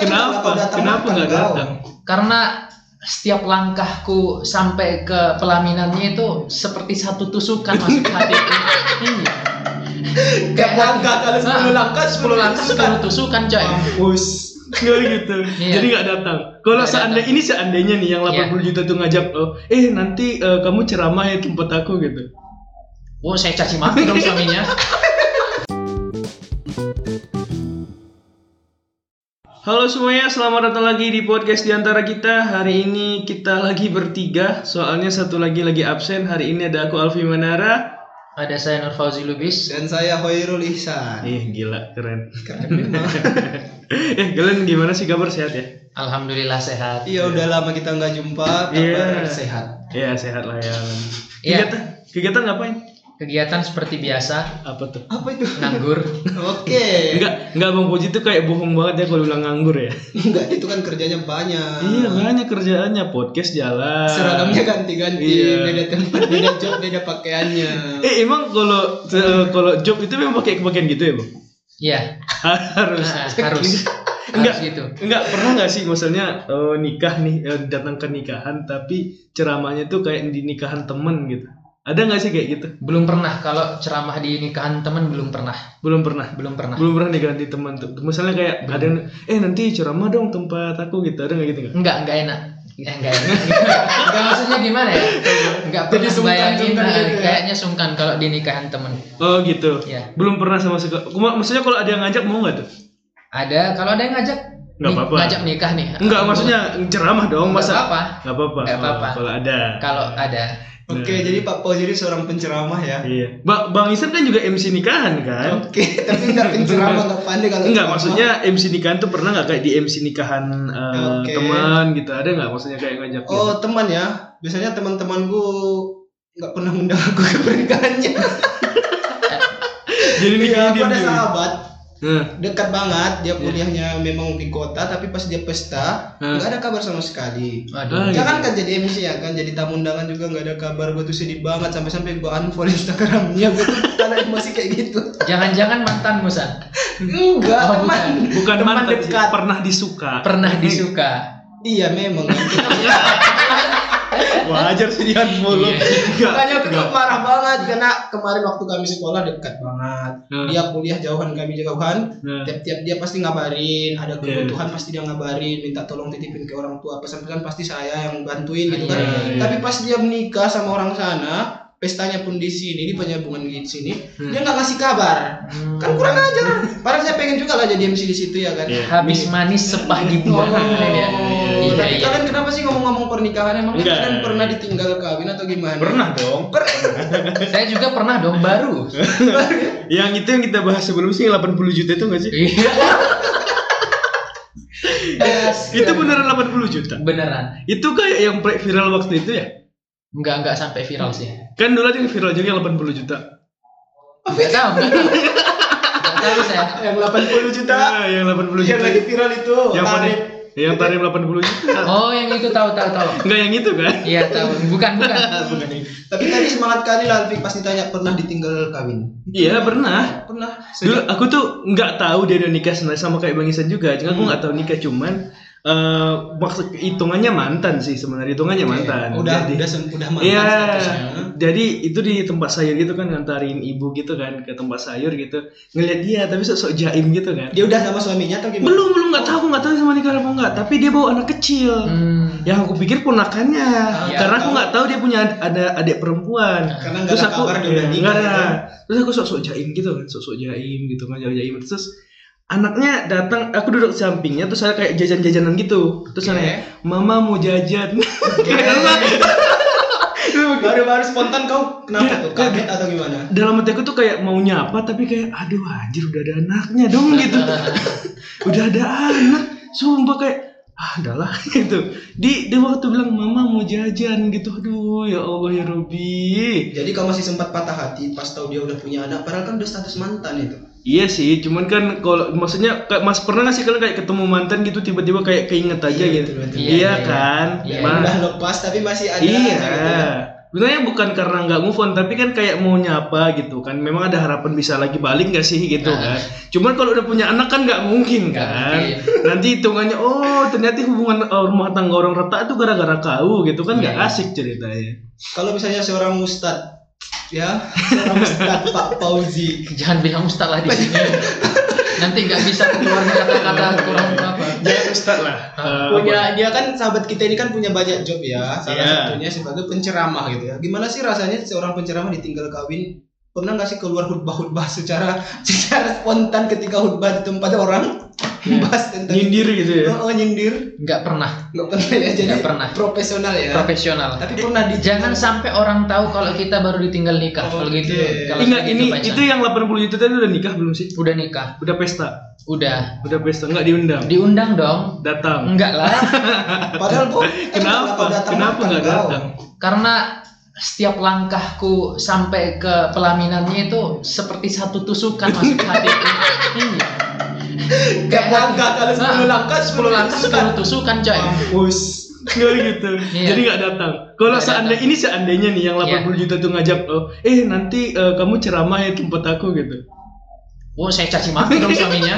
kenapa? Kenapa nggak datang? karena setiap langkahku sampai ke pelaminannya itu seperti satu tusukan masuk ke hatiku. Iya. Tiap langkah kali Nah, 10 langkah 10 langkah sepuluh tusukan coy. Mampus. Nggak gitu. Iya. Jadi nggak datang. Kalau Nggak seandainya ini seandainya nih yang 80 Iya. juta tuh ngajak lo, eh nanti eh, kamu ceramah ya di tempat aku gitu. Wow, Oh, saya caci maki dong suaminya. Halo semuanya, selamat datang lagi di podcast di antara kita. Hari ini kita lagi bertiga, soalnya satu lagi lagi absen. Hari ini ada aku Alfi Manara. Ada saya Nur Fauzi Lubis. Dan saya Hoirul Ihsan. Ih, Eh, gila, keren. Keren memang. eh, kalian gimana sih kabar sehat ya? Alhamdulillah sehat. Iya udah lama kita nggak jumpa, kabar Iya. sehat. Ya, sehat lah ya. Iya. Kegiatan, kegiatan ngapain? Kegiatan seperti biasa, Apa tuh? Apa itu? nganggur. Oke. Enggak, enggak Bang Puji tuh kayak bohong banget ya kalau bilang nganggur ya. Enggak, itu kan kerjanya banyak. Iya, banyak kerjaannya, podcast jalan. Seragamnya ganti-ganti, Iya. beda tempat, beda job, beda pakaiannya. Eh, emang kalau se- kalau job itu memang pakai kebagian gitu ya, Bang? Iya, Harus. nah, harus. Enggak. Harus gitu. Enggak pernah nggak sih maksudnya eh, nikah nih eh, datang ke nikahan tapi ceramahnya tuh kayak di nikahan temen gitu. Ada nggak sih kayak gitu? Belum pernah kalau ceramah di nikahan temen belum pernah. Belum pernah. Belum pernah. Belum pernah nikahan di teman tuh. Misalnya kayak ada yang, eh nanti ceramah dong tempat aku gitu. Ada nggak gitu nggak? Enggak, enggak enak. Eh, enggak enak. enggak maksudnya gimana ya? Enggak Gitu. Jadi pernah sungkan, bayangin sungkan nah, gitu ya? kayaknya sungkan kalau di nikahan temen. Oh gitu. Iya. Belum pernah sama sekali. Kuma- Maksudnya kalau ada yang ngajak mau nggak tuh? Ada kalau ada yang ngajak Enggak nih, apa-apa. ngajak nikah nih. Enggak, maksudnya ceramah dong Enggak masa. apa-apa. Nggak apa-apa. Nggak Oh, apa-apa. kalau ada. kalau ada Oke, jadi Pak Pau jadi seorang penceramah ya. Iya. Ba- Bang Isan kan juga MC nikahan kan? Oke, tapi enggak penceramah enggak pandai kalau Enggak, ceramah. maksudnya MC nikahan tuh pernah nggak kayak di MC nikahan eh, Oke. teman gitu? Ada nggak maksudnya kayak ngajak? gitu? Oh, teman ya. Biasanya teman-temanku nggak pernah ngundang aku ke pernikahannya. Jadi Iya, nikahan aku dia ada dulu. sahabat Nah, dekat banget dia Iya. kuliahnya memang di kota tapi pas dia pesta Hmm. nggak ada kabar sama sekali Ah, waduh iya. Jangan kan jadi MC ya kan jadi tamu undangan juga nggak ada kabar gue tuh sedih banget sampai sampai gue unfollow Instagramnya gue tuh karena emosi kayak gitu jangan-jangan mantanmu san enggak Oh, teman bukan teman mantan sih, dekat pernah disuka. pernah disuka iya memang Wajar sih dia unfollow. Iya. Enggak. makanya aku enggak. tuh marah banget karena kemarin waktu kami sekolah dekat banget Hmm. dia kuliah jauhan kami jauhan Nah, tiap-tiap dia pasti ngabarin Iya. ada kebutuhan pasti dia ngabarin minta tolong titipin ke orang tua pesan-pesan pasti saya yang bantuin gitu kan Iya, iya. tapi pas dia menikah sama orang sana pestanya pun di sini di penyambungan di sini Hmm. dia nggak ngasih kabar Hmm. kan kurang ajar padahal saya pengen juga lah jadi MC di situ ya kan Iya. habis manis sepah di Oh, buah keren ya. Iya, tapi iya. kalian kenapa sih ngomong-ngomong pernikahan emang Enggak. kalian pernah ditinggal kawin atau gimana? Pernah dong. saya juga pernah dong baru Yang itu yang kita bahas sebelum sih 80 juta itu nggak sih? Iya, Itu beneran 80 juta. beneran Itu kayak yang pre- viral waktu itu ya? nggak nggak sampai viral sih Kan dulu ada yang viral juga yang 80 juta. nggak tahu nggak tahu. Nggak tahu saya yang 80 juta Ah, yang 80 yang juta. lagi viral itu Yang Tarif. tarif. Yang tarif 80 juta. oh yang itu tahu tahu tahu Enggak yang itu kan? iya tahu bukan bukan Tapi tadi semangat kali lah Alfik pas ditanya pernah ditinggal kawin. Iya pernah. Pernah. Dulu aku tuh nggak tahu dia udah nikah sebenarnya sama kayak Bang Isan juga. Cuma aku Hmm. nggak tahu nikah cuman eh maksud hitungannya mantan sih sebenarnya hitungannya mantan. Udah Jadi- udah sem- udah mantan Iya. statusnya. Jadi itu di tempat sayur gitu kan ngantarin ibu gitu kan ke tempat sayur gitu. Ngeliat dia tapi sok-sok jaim gitu kan. Dia udah sama suaminya atau gimana? Belum belum nggak tahu nggak tahu sama nikah apa enggak. Tapi dia bawa anak kecil. hmm. yang aku pikir ponakannya Iya. karena aku nggak tahu dia punya ad- ada adik perempuan Nah, Karena nggak ada kabar dia udah iya, nikah, nggak ada. kan? terus aku sok-sok jaim gitu kan sok-sok jaim gitu kan jaim jaim terus anaknya datang aku duduk di sampingnya terus saya kayak jajan-jajanan gitu terus Oke. anaknya mama mau jajan Baru-baru spontan kau kenapa Iya, tuh? Kaget atau gimana? dalam hati aku tuh kayak mau nyapa tapi kayak aduh anjir udah ada anaknya dong gitu udah ada anak sumpah kayak ah adalah gitu di dia waktu bilang mama mau jajan gitu aduh ya Allah ya Robi Jadi kau masih sempat patah hati pas tahu dia udah punya anak padahal kan udah status mantan itu. Iya sih, cuman kan kalau maksudnya kayak mas pernah nggak sih kalian kayak ketemu mantan gitu tiba-tiba kayak keinget aja Iya, gitu. betul, betul. Iya, Iya, iya. kan? Iya. Ma- Udah lepas tapi masih ada iya. aja gitu kan. sebenarnya bukan karena nggak move on tapi kan kayak mau nyapa gitu kan memang ada harapan bisa lagi balik nggak sih gitu Nah. kan cuman kalau udah punya anak kan nggak mungkin Nggak kan mungkin. nanti hitungannya oh ternyata hubungan eh, rumah tangga orang retak itu gara-gara kau gitu kan nggak Iya. asik ceritanya Kalau misalnya seorang ustad ya, seorang ustad Pak Fauzi Jangan bilang ustaz lah di sini. Nanti nggak bisa keluar kata-kata kurang apa. jangan ustad Ya, lah Eh, punya dia kan sahabat kita ini kan punya banyak job ya salah Iya. satunya sebagai penceramah gitu ya gimana sih rasanya seorang penceramah ditinggal kawin pernah nggak sih keluar khutbah-khutbah secara secara spontan ketika khutbah di tempat orang bahas apa? tentang Iya. nyindir gitu ya Oh, oh, nyindir Nggak pernah nggak pernah ya jadi Nggak pernah. profesional ya profesional. tapi pernah di Jangan sampai orang tahu kalau kita baru ditinggal nikah. Kalau Oke. gitu, kalau Ingat gitu, Oh, ini Pak Isan. itu yang 80 juta tadi udah nikah belum sih? udah nikah, Udah pesta, udah udah pesta nggak diundang, diundang dong. datang. Enggak lah, padahal kan bu Kenapa? Kenapa nggak datang? karena setiap langkahku sampai ke pelaminannya itu seperti satu tusukan masuk hati. Iya. kayak langkah kalau Ah, sepuluh langkah sepuluh Oh. 10 langkah langkah 10 tusukan coy. mampus Nggak gitu. Iya. Jadi nggak datang. Kalau Nggak seandainya ini seandainya nih yang 80 Iya. juta tuh ngajak lo, eh nanti eh, kamu ceramah ya tempat aku gitu. Wah, Oh, saya caci maki dong suaminya.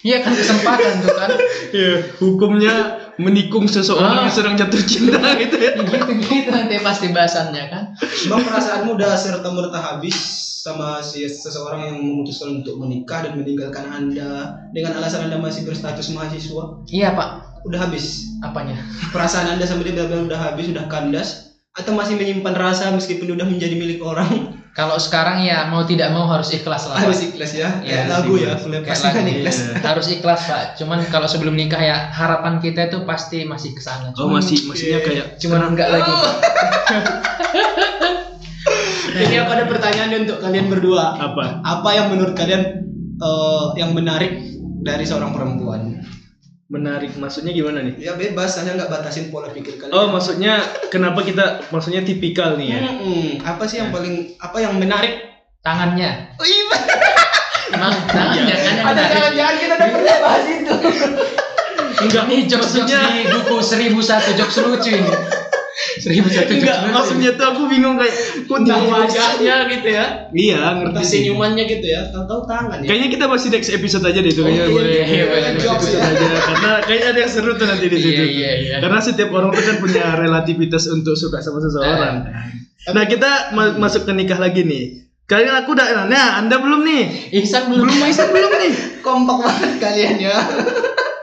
Iya kan kesempatan tuh kan. Iya, hukumnya menikung seseorang Ah. yang sedang jatuh cinta gitu ya. Gitu-gitu nanti pasti bahasannya kan. Emang perasaanmu udah serta merta habis sama si seseorang yang memutuskan untuk menikah dan meninggalkan anda dengan alasan anda masih berstatus mahasiswa Iya pak, udah habis apanya? perasaan anda sama dia benar-benar udah habis udah kandas atau masih menyimpan rasa meskipun udah menjadi milik orang Kalau sekarang ya mau tidak mau harus ikhlas lah. Pak. harus ikhlas ya Iya, kayak lagu sih, ya Mas. boleh Kayak pasti kan lagu, ikhlas iya. Harus ikhlas pak. Cuman kalau sebelum nikah ya harapan kita itu pasti masih kesana. Oh masih masihnya kayak Cuman enggak lagi. ini aku ada pertanyaan nih untuk kalian berdua apa? apa yang menurut kalian eh, yang menarik dari seorang perempuan Menarik maksudnya gimana nih? ya bebas hanya nggak batasin pola pikir kalian Oh maksudnya kenapa kita maksudnya tipikal Iya. nih ya? Mm-mm. Hmm, apa sih yang paling apa yang menarik Tangannya, Oh, iya, emang tangannya kan yang ada menarik. jangan-jangan kita udah pernah bahas itu Enggak, Ini jokes-jokes di buku 1001 jokes lucu ini. 1001 jokes Enggak, Nah, lucu. maksudnya tuh aku bingung kayak kok tentang tiba-tiba- wajahnya gitu ya Iya, ngerti tentang sih. senyumannya gitu ya tahu-tahu tangan ya Kayaknya kita masih next episode aja deh itu kayaknya Oh, iya, Iya, boleh. ya. iya, iya, boleh. next episode aja karena kayaknya ada yang seru tuh nanti di Iya, situ. iya, iya. Karena setiap orang tuh kan punya relativitas untuk suka sama seseorang. Ah, Nah, kita ma- masuk ke nikah lagi nih. Kalian aku udah nah, Anda belum nih. Ihsan belum Belum Maisan belum nih. kompak banget kalian ya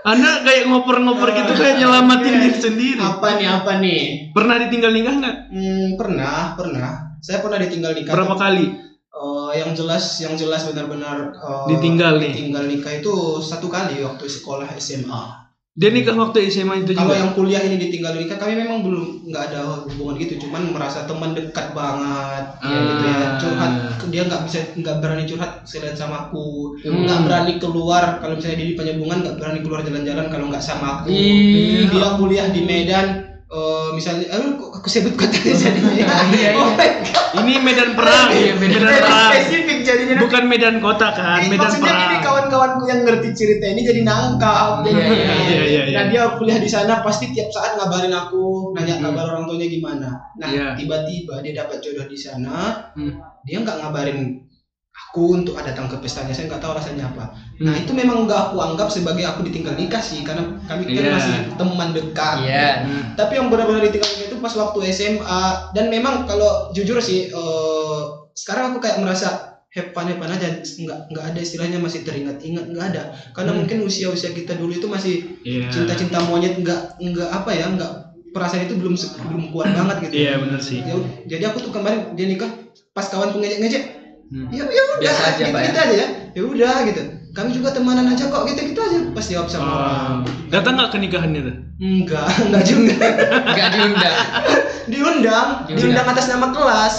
Anda kayak ngoper-ngoper gitu kayak Iya. nyelamatin diri sendiri. apa nih apa nih Pernah ditinggal nikah nggak? hmm, pernah pernah saya pernah ditinggal nikah Berapa kali? Eh, yang jelas yang jelas benar-benar eh, Ditinggal nih. ditinggal nikah itu satu kali waktu sekolah SMA Dia nikah waktu SMA itu kalau juga. yang kuliah ini ditinggal nikah kami memang belum nggak ada hubungan gitu cuman merasa teman dekat banget ya gitu ya Ah. curhat dia nggak bisa nggak berani curhat selain sama aku Hmm. nggak berani keluar kalau misalnya dia di penyambungan nggak berani keluar jalan-jalan kalau nggak sama aku Ih. dia kuliah di Medan eh, misalnya aduh kok aku sebut kotanya jadinya Iya, Oh iya. my God. Ini medan perang, Iya, medan medan Jadi perang. spesifik jadinya Bukan medan kota kan, Ini Eh, medan maksudnya ini perang. kawan-kawanku yang ngerti cerita ini jadi nangkap. Iya, iya, iya, iya, iya. Nah dia kuliah di sana pasti tiap saat ngabarin aku, nanya kabar orang tuanya gimana. Nah Hmm. Iya. tiba-tiba dia dapat jodoh di sana, Hmm. dia nggak ngabarin aku untuk datang ke pestanya. Saya nggak tahu rasanya apa. Nah Hmm. itu memang nggak aku anggap sebagai aku ditinggal nikah sih, karena kami kan Iya. masih teman dekat. Iya. Tapi yang benar-benar ditinggal nikah itu pas waktu SMA dan memang kalau jujur sih eh, sekarang aku kayak merasa hepan hepan aja nggak nggak ada istilahnya masih teringat-ingat nggak ada karena Hmm. mungkin usia-usia kita dulu itu masih Iya. cinta-cinta monyet nggak nggak apa ya nggak perasaan itu belum se- belum kuat banget gitu. Iya benar sih. Ya ud- jadi aku tuh kemarin dia nikah pas kawan ngejek-ngejek Hmm. ya ya udah Biasa aja, gitu, Pak, ya. gitu aja ya ya udah gitu kami juga temanan aja kok gitu gitu aja pas jawab sama Oh. orang Datang nggak ke nikahannya tuh? enggak enggak juga Enggak diundang. diundang, Diundang. diundang atas nama kelas.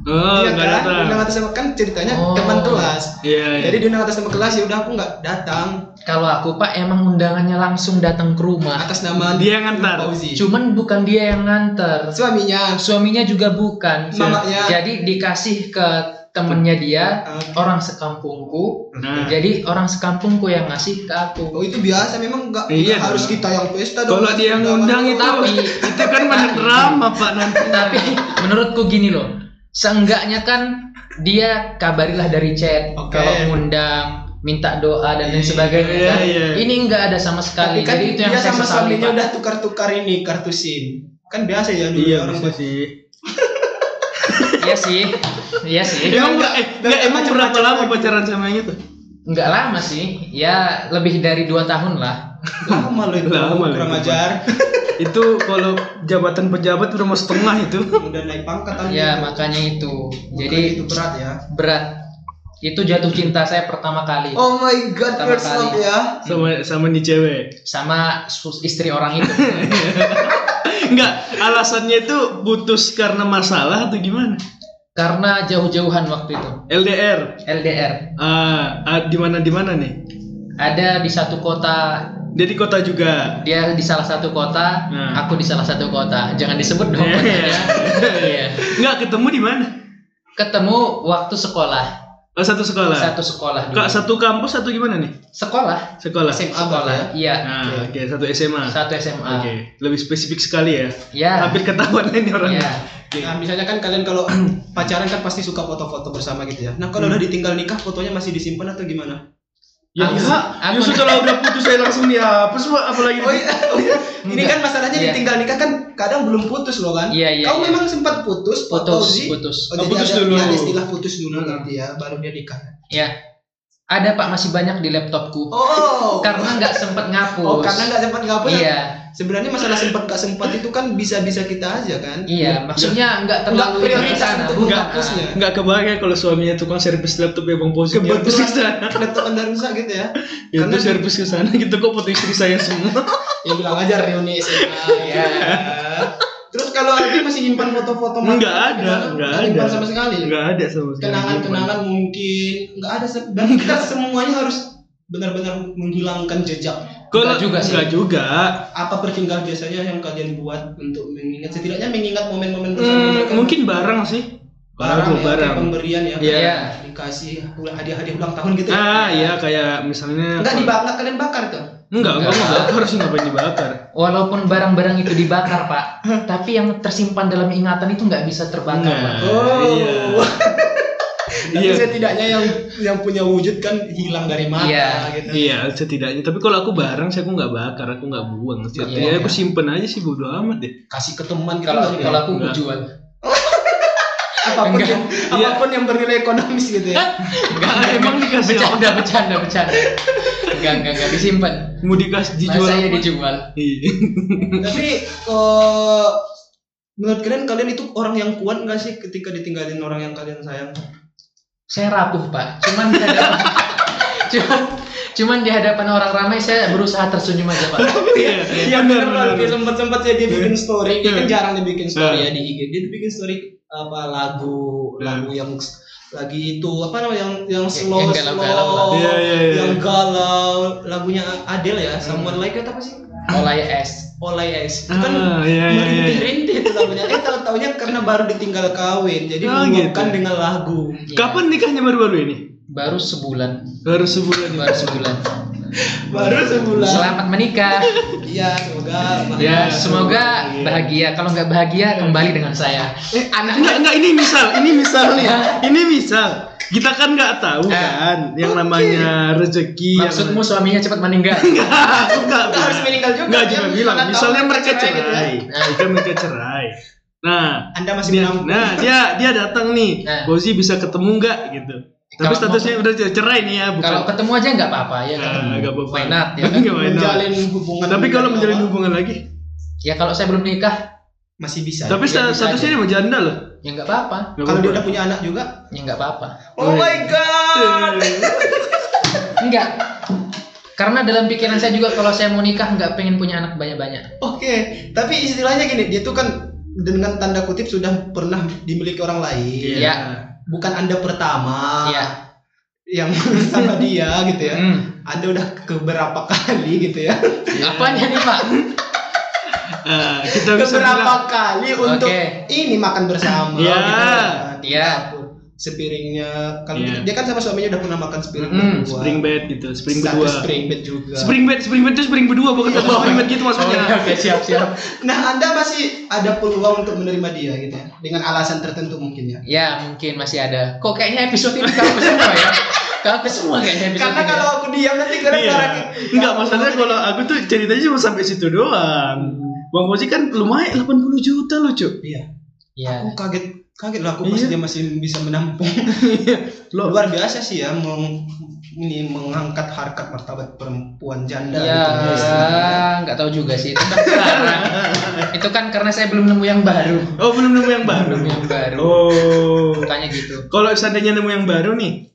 Oh, Iya nggak kan? datang. Diundang atas nama kan ceritanya Oh. teman kelas. Iya. iya. Jadi diundang atas nama kelas ya udah aku nggak datang Kalau aku pak emang undangannya langsung datang ke rumah. atas nama Nah, Dia yang ngantar. Fauzi. Cuman bukan dia yang nganter. Suaminya Iya. suaminya Ah, juga bukan Mamanya. jadi dikasih ke temennya dia ya. Ah, orang sekampungku Nah, jadi orang sekampungku yang ngasih ke aku Oh itu biasa memang nggak nggak Iya, harus dong. kita yang pesta dong. kalau dia ngundang Oh, itu, Tapi- iya. itu kan pada drama pak nanti. tapi menurutku gini loh seenggaknya kan dia kabarilah dari chat Oke. kalau ngundang minta doa dan Iya, lain sebagainya iya, kan. iya. ini nggak ada sama Tapi sekali kan jadi itu yang dia saya sama sesali suaminya Pak. udah tukar-tukar ini kartu SIM. Kan biasa ya dulu orang bisa Iya, sih. iya sih iya sih Emang enggak, enggak, eh, enggak, emang berapa lama pacaran sama yang itu? nggak lama sih ya lebih dari dua tahun lah lama loh itu Lama loh kurang itu. ajar. itu kalau jabatan pejabat udah mau setengah itu. Udah naik pangkat Iya, tapi ya itu. makanya itu Oh, iya. Makanya jadi itu berat ya. berat itu jatuh cinta saya pertama kali Oh my god, Pertama first love kali. ya. sama sama nih cewek sama sus- istri orang itu nggak alasannya itu putus karena masalah atau gimana karena jauh-jauhan waktu itu LDR LDR ah ah, di mana di mana nih ada di satu kota dia di kota juga dia di salah satu kota Nah. aku di salah satu kota jangan disebut dong Iya. kotanya Iya. nggak ketemu di mana ketemu waktu sekolah oh, satu sekolah satu sekolah dulu. Kak, satu kampus atau gimana nih sekolah sekolah SMA sekolah ya? iya nah oke satu SMA oke satu SMA Ah, lebih spesifik sekali ya ya hampir ketahuan ini orang ya Oke. Nah, misalnya kan kalian kalau pacaran kan pasti suka foto-foto bersama gitu ya. Nah, kalau Hmm. udah ditinggal nikah fotonya masih disimpan atau gimana? ya Aku- enggak. aku- ya setelah udah putus saya langsung ya. dihapus pak apalagi Oh iya. Ini Enggak. kan masalahnya Iya. ditinggal nikah kan kadang belum putus loh kan? iya iya Kau iya. memang sempat putus foto putus di putus Oh, Oh, jadi putus ada, dulu. ya, ada istilah putus dulu Hmm. nanti ya, baru dia nikah. ya ada pak masih banyak di laptopku Oh, karena nggak sempet ngapus oh karena nggak sempat ngapus. iya Sebenarnya masalah sempat nggak sempat itu kan bisa-bisa kita aja kan. iya maksudnya nggak terlalu Nggak prioritas kesana. untuk Bukan, menghapusnya. ah. iya. nggak kebayang ya kalau suaminya tukang servis laptop ya bang Posi Kebetulan. Nyerpus ke sana Laptop anda rusak gitu ya. ya Karena- itu servis ke sana gitu kok foto istri saya semua Ya bilang aja reuni SMA. Iya. ya. Terus kalau Aldi masih nyimpan foto-foto mantan Nggak gitu ada, kan? nggak nyimpan ada. sama sekali. nggak ada sama sekali Kenangan-kenangan mungkin nggak ada se- dan kita semuanya harus benar-benar menghilangkan jejak Kalau Nggak juga sih. nggak juga. apa pertinggal biasanya yang kalian buat untuk mengingat setidaknya mengingat momen-momen bersama Hmm, mereka. mungkin barang sih. barang, ya, barang. kayak pemberian ya Iya. kayak dikasih ulang- hadiah-hadiah ulang tahun gitu Ah, ya kayak misalnya enggak dibakar kalian bakar tuh Enggak, enggak mau Nggak. bakar sih ngapain dibakar. walaupun barang-barang itu dibakar pak tapi yang tersimpan dalam ingatan itu nggak bisa Nggak, terbakar pak Iya. Oh. tapi Iya. setidaknya yang yang punya wujud kan hilang dari mata Iya. gitu Iya, setidaknya. Tapi kalau aku barang sih aku nggak bakar, aku nggak buang. Setidaknya Iya. aku simpen aja sih bodo amat deh. kasih ke teman gitu kalau nggak? kalau aku Nggak. jual apapun Enggak. yang, Iya. apapun yang bernilai ekonomis gitu ya Enggak, emang dikasih apa? bercanda bercanda bercanda nggak nggak nggak disimpan Mau dikasih dijual masa ya apa? dijual Iya. tapi eh, menurut kalian kalian itu orang yang kuat nggak sih ketika ditinggalin orang yang kalian sayang saya rapuh pak cuman di hadapan cuman cuman di hadapan orang ramai saya berusaha tersenyum aja pak Iya, iya benar benar. Dia sempat sempat ya dia bikin story. Dia kan Iya. jarang dia bikin story Iya. ya di IG. Dia bikin story apa lagu Iya. lagu yang lagi itu apa namanya yang yang Yang- slow yang slow galau-galau lah. Iya, iya, iya. Hmm. yang galau lagunya Adele ya someone like it apa sih mulai es Olay S itu kan Ah, iya iya iya. merintih-rintih itu lagunya eh tahu taunya karena baru ditinggal kawin jadi Oh, mengungkapkan gitu. dengan lagu Iya. Kapan nikahnya baru-baru ini? baru sebulan Baru sebulan. baru sebulan baru sebulan selamat menikah iya semoga ya bahagia. semoga bahagia kalau nggak bahagia kembali dengan saya Eh, enggak, enggak, ini misal, ini misal nih. Ini misal. Kita kan nggak tahu Eh, kan yang namanya rezeki yang- maksudmu suaminya cepat meninggal Enggak, enggak. harus meninggal juga Enggak dia juga bilang, mana tahu misalnya mereka cerai gitu ya. cerai. Jika mereka cerai. Nah, anda masih dia, menampung nah dia dia datang nih. Eh. Bozi bisa ketemu nggak gitu. Tapi Kalau statusnya udah cerai nih ya, bukan. kalau ketemu aja nggak apa-apa ya Nah, ketemu nggak apa-apa. Why not, ya kan? Nggak why not. menjalin hubungan Tapi kalau dengan menjalin apa, hubungan lagi, ya kalau saya belum nikah masih bisa Iya. tapi bisa sta- statusnya aja. dia mau janda loh. ya nggak apa-apa kalau Nggak dia apa-apa. udah punya anak juga ya nggak apa-apa oh Iya. my god enggak karena dalam pikiran saya juga kalau saya mau nikah nggak pengen punya anak banyak-banyak oke tapi istilahnya gini dia tuh kan dengan tanda kutip sudah pernah dimiliki orang lain Iya. bukan anda pertama Ah. Iya. yang sama dia gitu ya Hmm. anda udah keberapa kali gitu ya apanya nih pak Eh, kita bisa keberapa bilang- kali untuk Oke. ini makan bersama Iya. gitu kan. Iya. sepiringnya kan Iya. dia kan sama suaminya udah pernah makan sepiring Mm, berdua. spring bed gitu, spring Satu berdua. spring bed juga. Spring bed, spring bed itu spring berdua bukan Iya. satu spring bed gitu maksudnya. Oh, Oke, oke, siap, siap. Nah, Anda masih ada peluang untuk menerima dia gitu ya. Dengan alasan tertentu mungkin ya. Ya, mungkin masih ada. Kok kayaknya episode ini ke aku semua ya? Ke aku semua kayaknya episode Karena ini. ya? kalau aku diam nanti gitu kalian Iya. marah. Enggak, masalahnya kalau aku tuh ceritanya cuma sampai situ doang. Hmm. Bang Fauzi kan lumayan 80 juta loh, Cuk. Iya. Iya. Aku kaget kaget lah aku pas Iya. dia masih bisa menampung. Lo Luar biasa sih ya meng, ini mengangkat harkat martabat perempuan janda Iya, gitu. nggak tahu juga sih. Itu kan sekarang. Itu kan karena saya belum nemu yang baru. Oh, belum nemu yang baru. Belum nemu yang baru. Oh. Tanya gitu. Kalau seandainya nemu yang baru nih.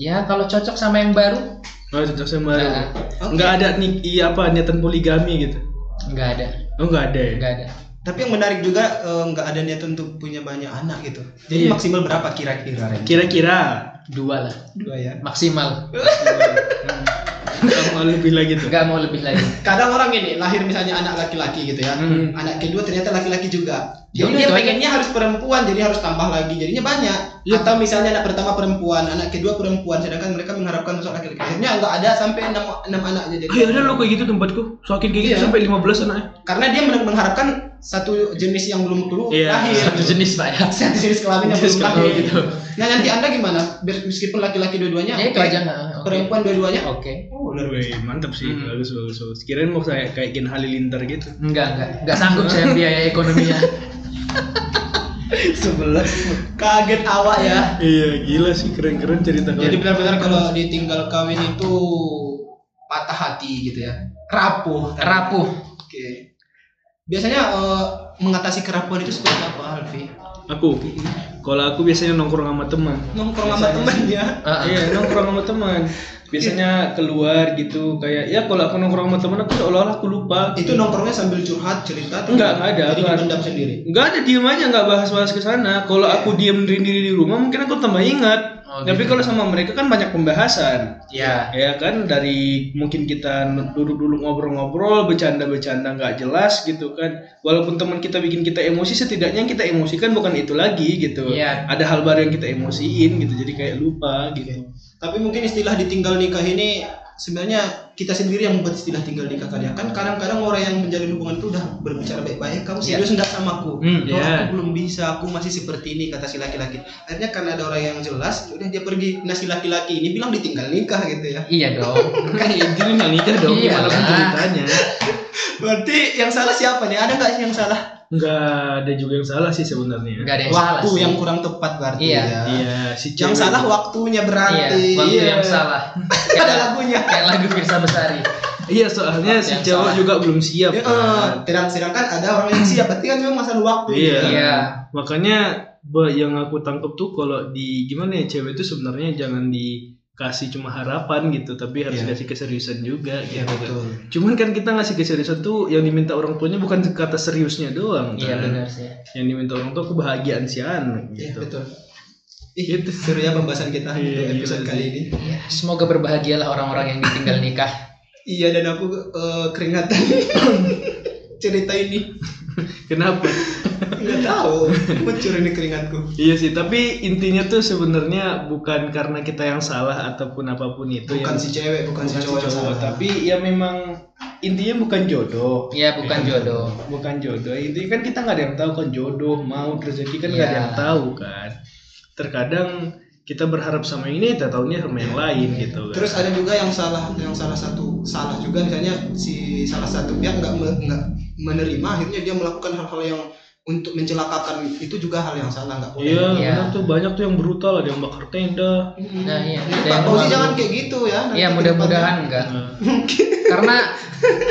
Ya, kalau cocok sama yang baru, Oh, cocok sama baru. nah, Oke. Enggak ada nih iya apa niatan poligami gitu. nggak ada, Oh, enggak ada ya. nggak ada. Tapi yang menarik juga eh, nggak ada niat untuk punya banyak anak gitu. Jadi Iya. maksimal berapa kira-kira? Ren? Kira-kira Dua lah, Dua ya. maksimal. kalau lebih lagi tuh. Nggak mau lebih lagi. Kadang orang ini lahir misalnya anak laki-laki gitu ya. Hmm. Anak kedua ternyata laki-laki juga. Jadi Ya udah, dia itu aja. pengennya harus perempuan, jadi harus tambah lagi. Jadinya banyak. Iya. Ah. Atau misalnya anak pertama perempuan, anak kedua perempuan, sedangkan mereka mengharapkan masuk laki-laki. Akhirnya nggak ada sampai enam enam anaknya Oh, jadi. ya Ayo ada lo kayak gitu tempatku. Sokin kayak gitu Iya. sampai 15 anaknya. Karena dia men- mengharapkan satu jenis yang belum keluar Iya, lahir. Satu jenis pak ya. Satu jenis kelamin yang Jenis belum kelamin lahir. gitu. Nah nanti anda gimana? Biar meskipun laki-laki dua-duanya, Ya itu oke. aja nggak. Oke. perempuan dua-duanya. Oke. Oh, luar biasa. Wih, mantap sih. Hmm. Bagus, bagus, bagus. Kirain mau saya kayak Gen Halilintar gitu. Enggak, enggak, enggak sanggup saya biaya ekonominya. 11. Kaget awak ya. iya, gila sih keren-keren cerita Jadi kalian. benar-benar kalau ditinggal kawin itu patah hati gitu ya. Rapuh. Rapuh. Oke. Biasanya eh, mengatasi kerapuhan itu seperti apa, Alfi? Aku kalau aku biasanya nongkrong sama teman. Nongkrong sama teman ya. Ah, ah. Iya, nongkrong sama teman. Biasanya keluar gitu kayak ya kalau aku nongkrong sama teman aku seolah-olah aku lupa. Itu nongkrongnya sambil curhat cerita atau Enggak, enggak ada. Jadi Aku- dipendam sendiri. Enggak ada diem aja nggak bahas-bahas ke sana. Kalau aku diem sendiri di rumah mungkin aku tambah ingat. Oh, Tapi gitu. kalau sama mereka kan banyak pembahasan. Ya. Ya kan dari mungkin kita duduk-duduk ngobrol-ngobrol, bercanda-bercanda nggak jelas gitu kan. Walaupun teman kita bikin kita emosi, setidaknya yang kita emosikan bukan itu lagi gitu. Iya. Ada hal baru yang kita emosiin gitu. Jadi kayak lupa gitu. Tapi mungkin istilah ditinggal nikah ini sebenarnya kita sendiri yang membuat istilah tinggal nikah kalian kan kadang-kadang orang yang menjalin hubungan itu udah berbicara baik-baik kamu Iya. serius enggak sama aku Hmm, "No, iya. aku belum bisa aku masih seperti ini kata si laki-laki akhirnya karena ada orang yang jelas udah dia pergi nah si laki-laki ini bilang ditinggal nikah gitu ya Iya dong. Kan ya jadi nggak nikah dong, Iya gimana pun lah. ceritanya. berarti yang salah siapa nih ada nggak sih yang salah Nggak ada juga yang salah sih sebenarnya. Enggak ada yang salah. waktu sih. yang kurang tepat berarti Iya. ya Iya, si yang cewek. salah waktunya Iya, berarti waktu Iya. yang salah. Kayak ada lagu, lagunya kayak lagu Firsa Besari. Iya, soalnya si Yang cewek salah. juga belum siap. Iya. Ya, eh, kan. sedang- sedangkan ada orang yang siap berarti kan memang masalah waktu Iya. Iya. Makanya ba- yang aku tangkep tuh kalau di gimana ya cewek itu sebenarnya jangan dikasih cuma harapan gitu, tapi harus Iya. kasih keseriusan juga Iya, gitu. kan. betul Cuman kan kita ngasih keseriusan tuh yang diminta orang tuanya bukan kata seriusnya doang. Iya kan. benar sih. Yang diminta orang tua kebahagiaan si anak Iya gitu. betul. Ih, itu seru ya pembahasan kita untuk Iya, episode gila kali sih. ini. Ya, semoga berbahagialah orang-orang yang ditinggal nikah. Iya dan aku eh, keringatan cerita ini. Kenapa? Nggak tahu, bocor ini keringatku. Iya sih, tapi intinya tuh sebenarnya bukan karena kita yang salah ataupun apapun itu Bukan yang si cewek, bukan, si cowok, yang salah. tapi ya memang intinya bukan jodoh. Iya, bukan jodoh. Bukan jodoh. Intinya kan kita nggak ada yang tahu kan jodoh, mau rezeki kan nggak ada Iya. yang tahu kan. Terkadang kita berharap sama ini, tak tahunya sama yang lain gitu kan. Terus ada juga yang salah, yang salah satu salah juga misalnya si salah satu pihak nggak me- nggak menerima akhirnya dia melakukan hal-hal yang untuk mencelakakan itu juga hal yang salah nggak boleh. Iya, Iya. benar tuh banyak tuh yang brutal, ada yang bakar tenda. Mm. Nah, iya. Nah, Ada Pak yang Fauzi malu. jangan kayak gitu ya. nanti Iya, ke mudah-mudahan enggak. Nah, Karena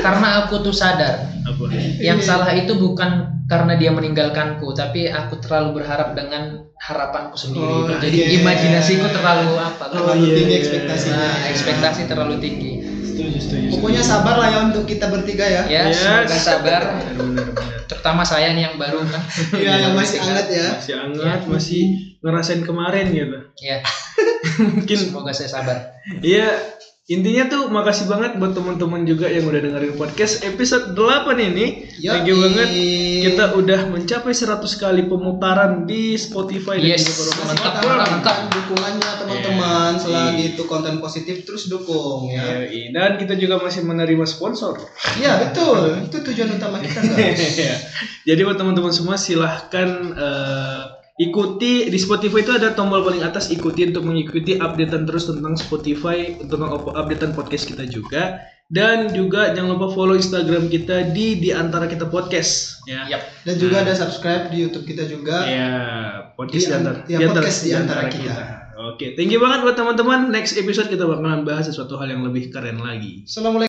karena aku tuh sadar apa? yang salah itu bukan karena dia meninggalkanku, tapi aku terlalu berharap dengan harapanku Oh, sendiri. Jadi iya. imajinasiku terlalu depannya. apa? Terlalu Terlalu iya, tinggi iya. ekspektasinya. nah, ekspektasi terlalu tinggi. Setuju, setuju. Pokoknya sabar lah ya untuk kita bertiga ya. Ya, Yes. semoga sabar. Benar, benar. Terutama saya nih yang baru kan. Iya yang masih hangat ya. Masih hangat, masih ngerasain kemarin gitu. Ya, Mungkin semoga saya sabar. Iya, Intinya tuh makasih banget buat teman-teman juga yang udah dengerin podcast episode 8 ini. Thank you Yoi. banget. Kita udah mencapai 100 kali pemutaran di Spotify dan Yes. juga baru Masih kemarin. Mantap, kita mantap. harapkan dukungannya teman-teman Iya. selagi itu konten positif terus dukung ya. Yoi. Dan kita juga masih menerima sponsor. Iya betul, itu tujuan utama kita guys. Jadi buat teman-teman semua silahkan eh, ikuti di Spotify itu ada tombol paling atas ikuti untuk mengikuti updatean terus tentang Spotify tentang op- updatean podcast kita juga dan juga jangan lupa follow Instagram kita di di antara kita podcast ya. Yap. Dan juga ada subscribe di YouTube kita juga. Ya, podcast Di di an- antara, ya, podcast di antara kita. Oke, thank you banget buat teman-teman. Next episode kita bakalan bahas sesuatu hal yang lebih keren lagi. Assalamualaikum.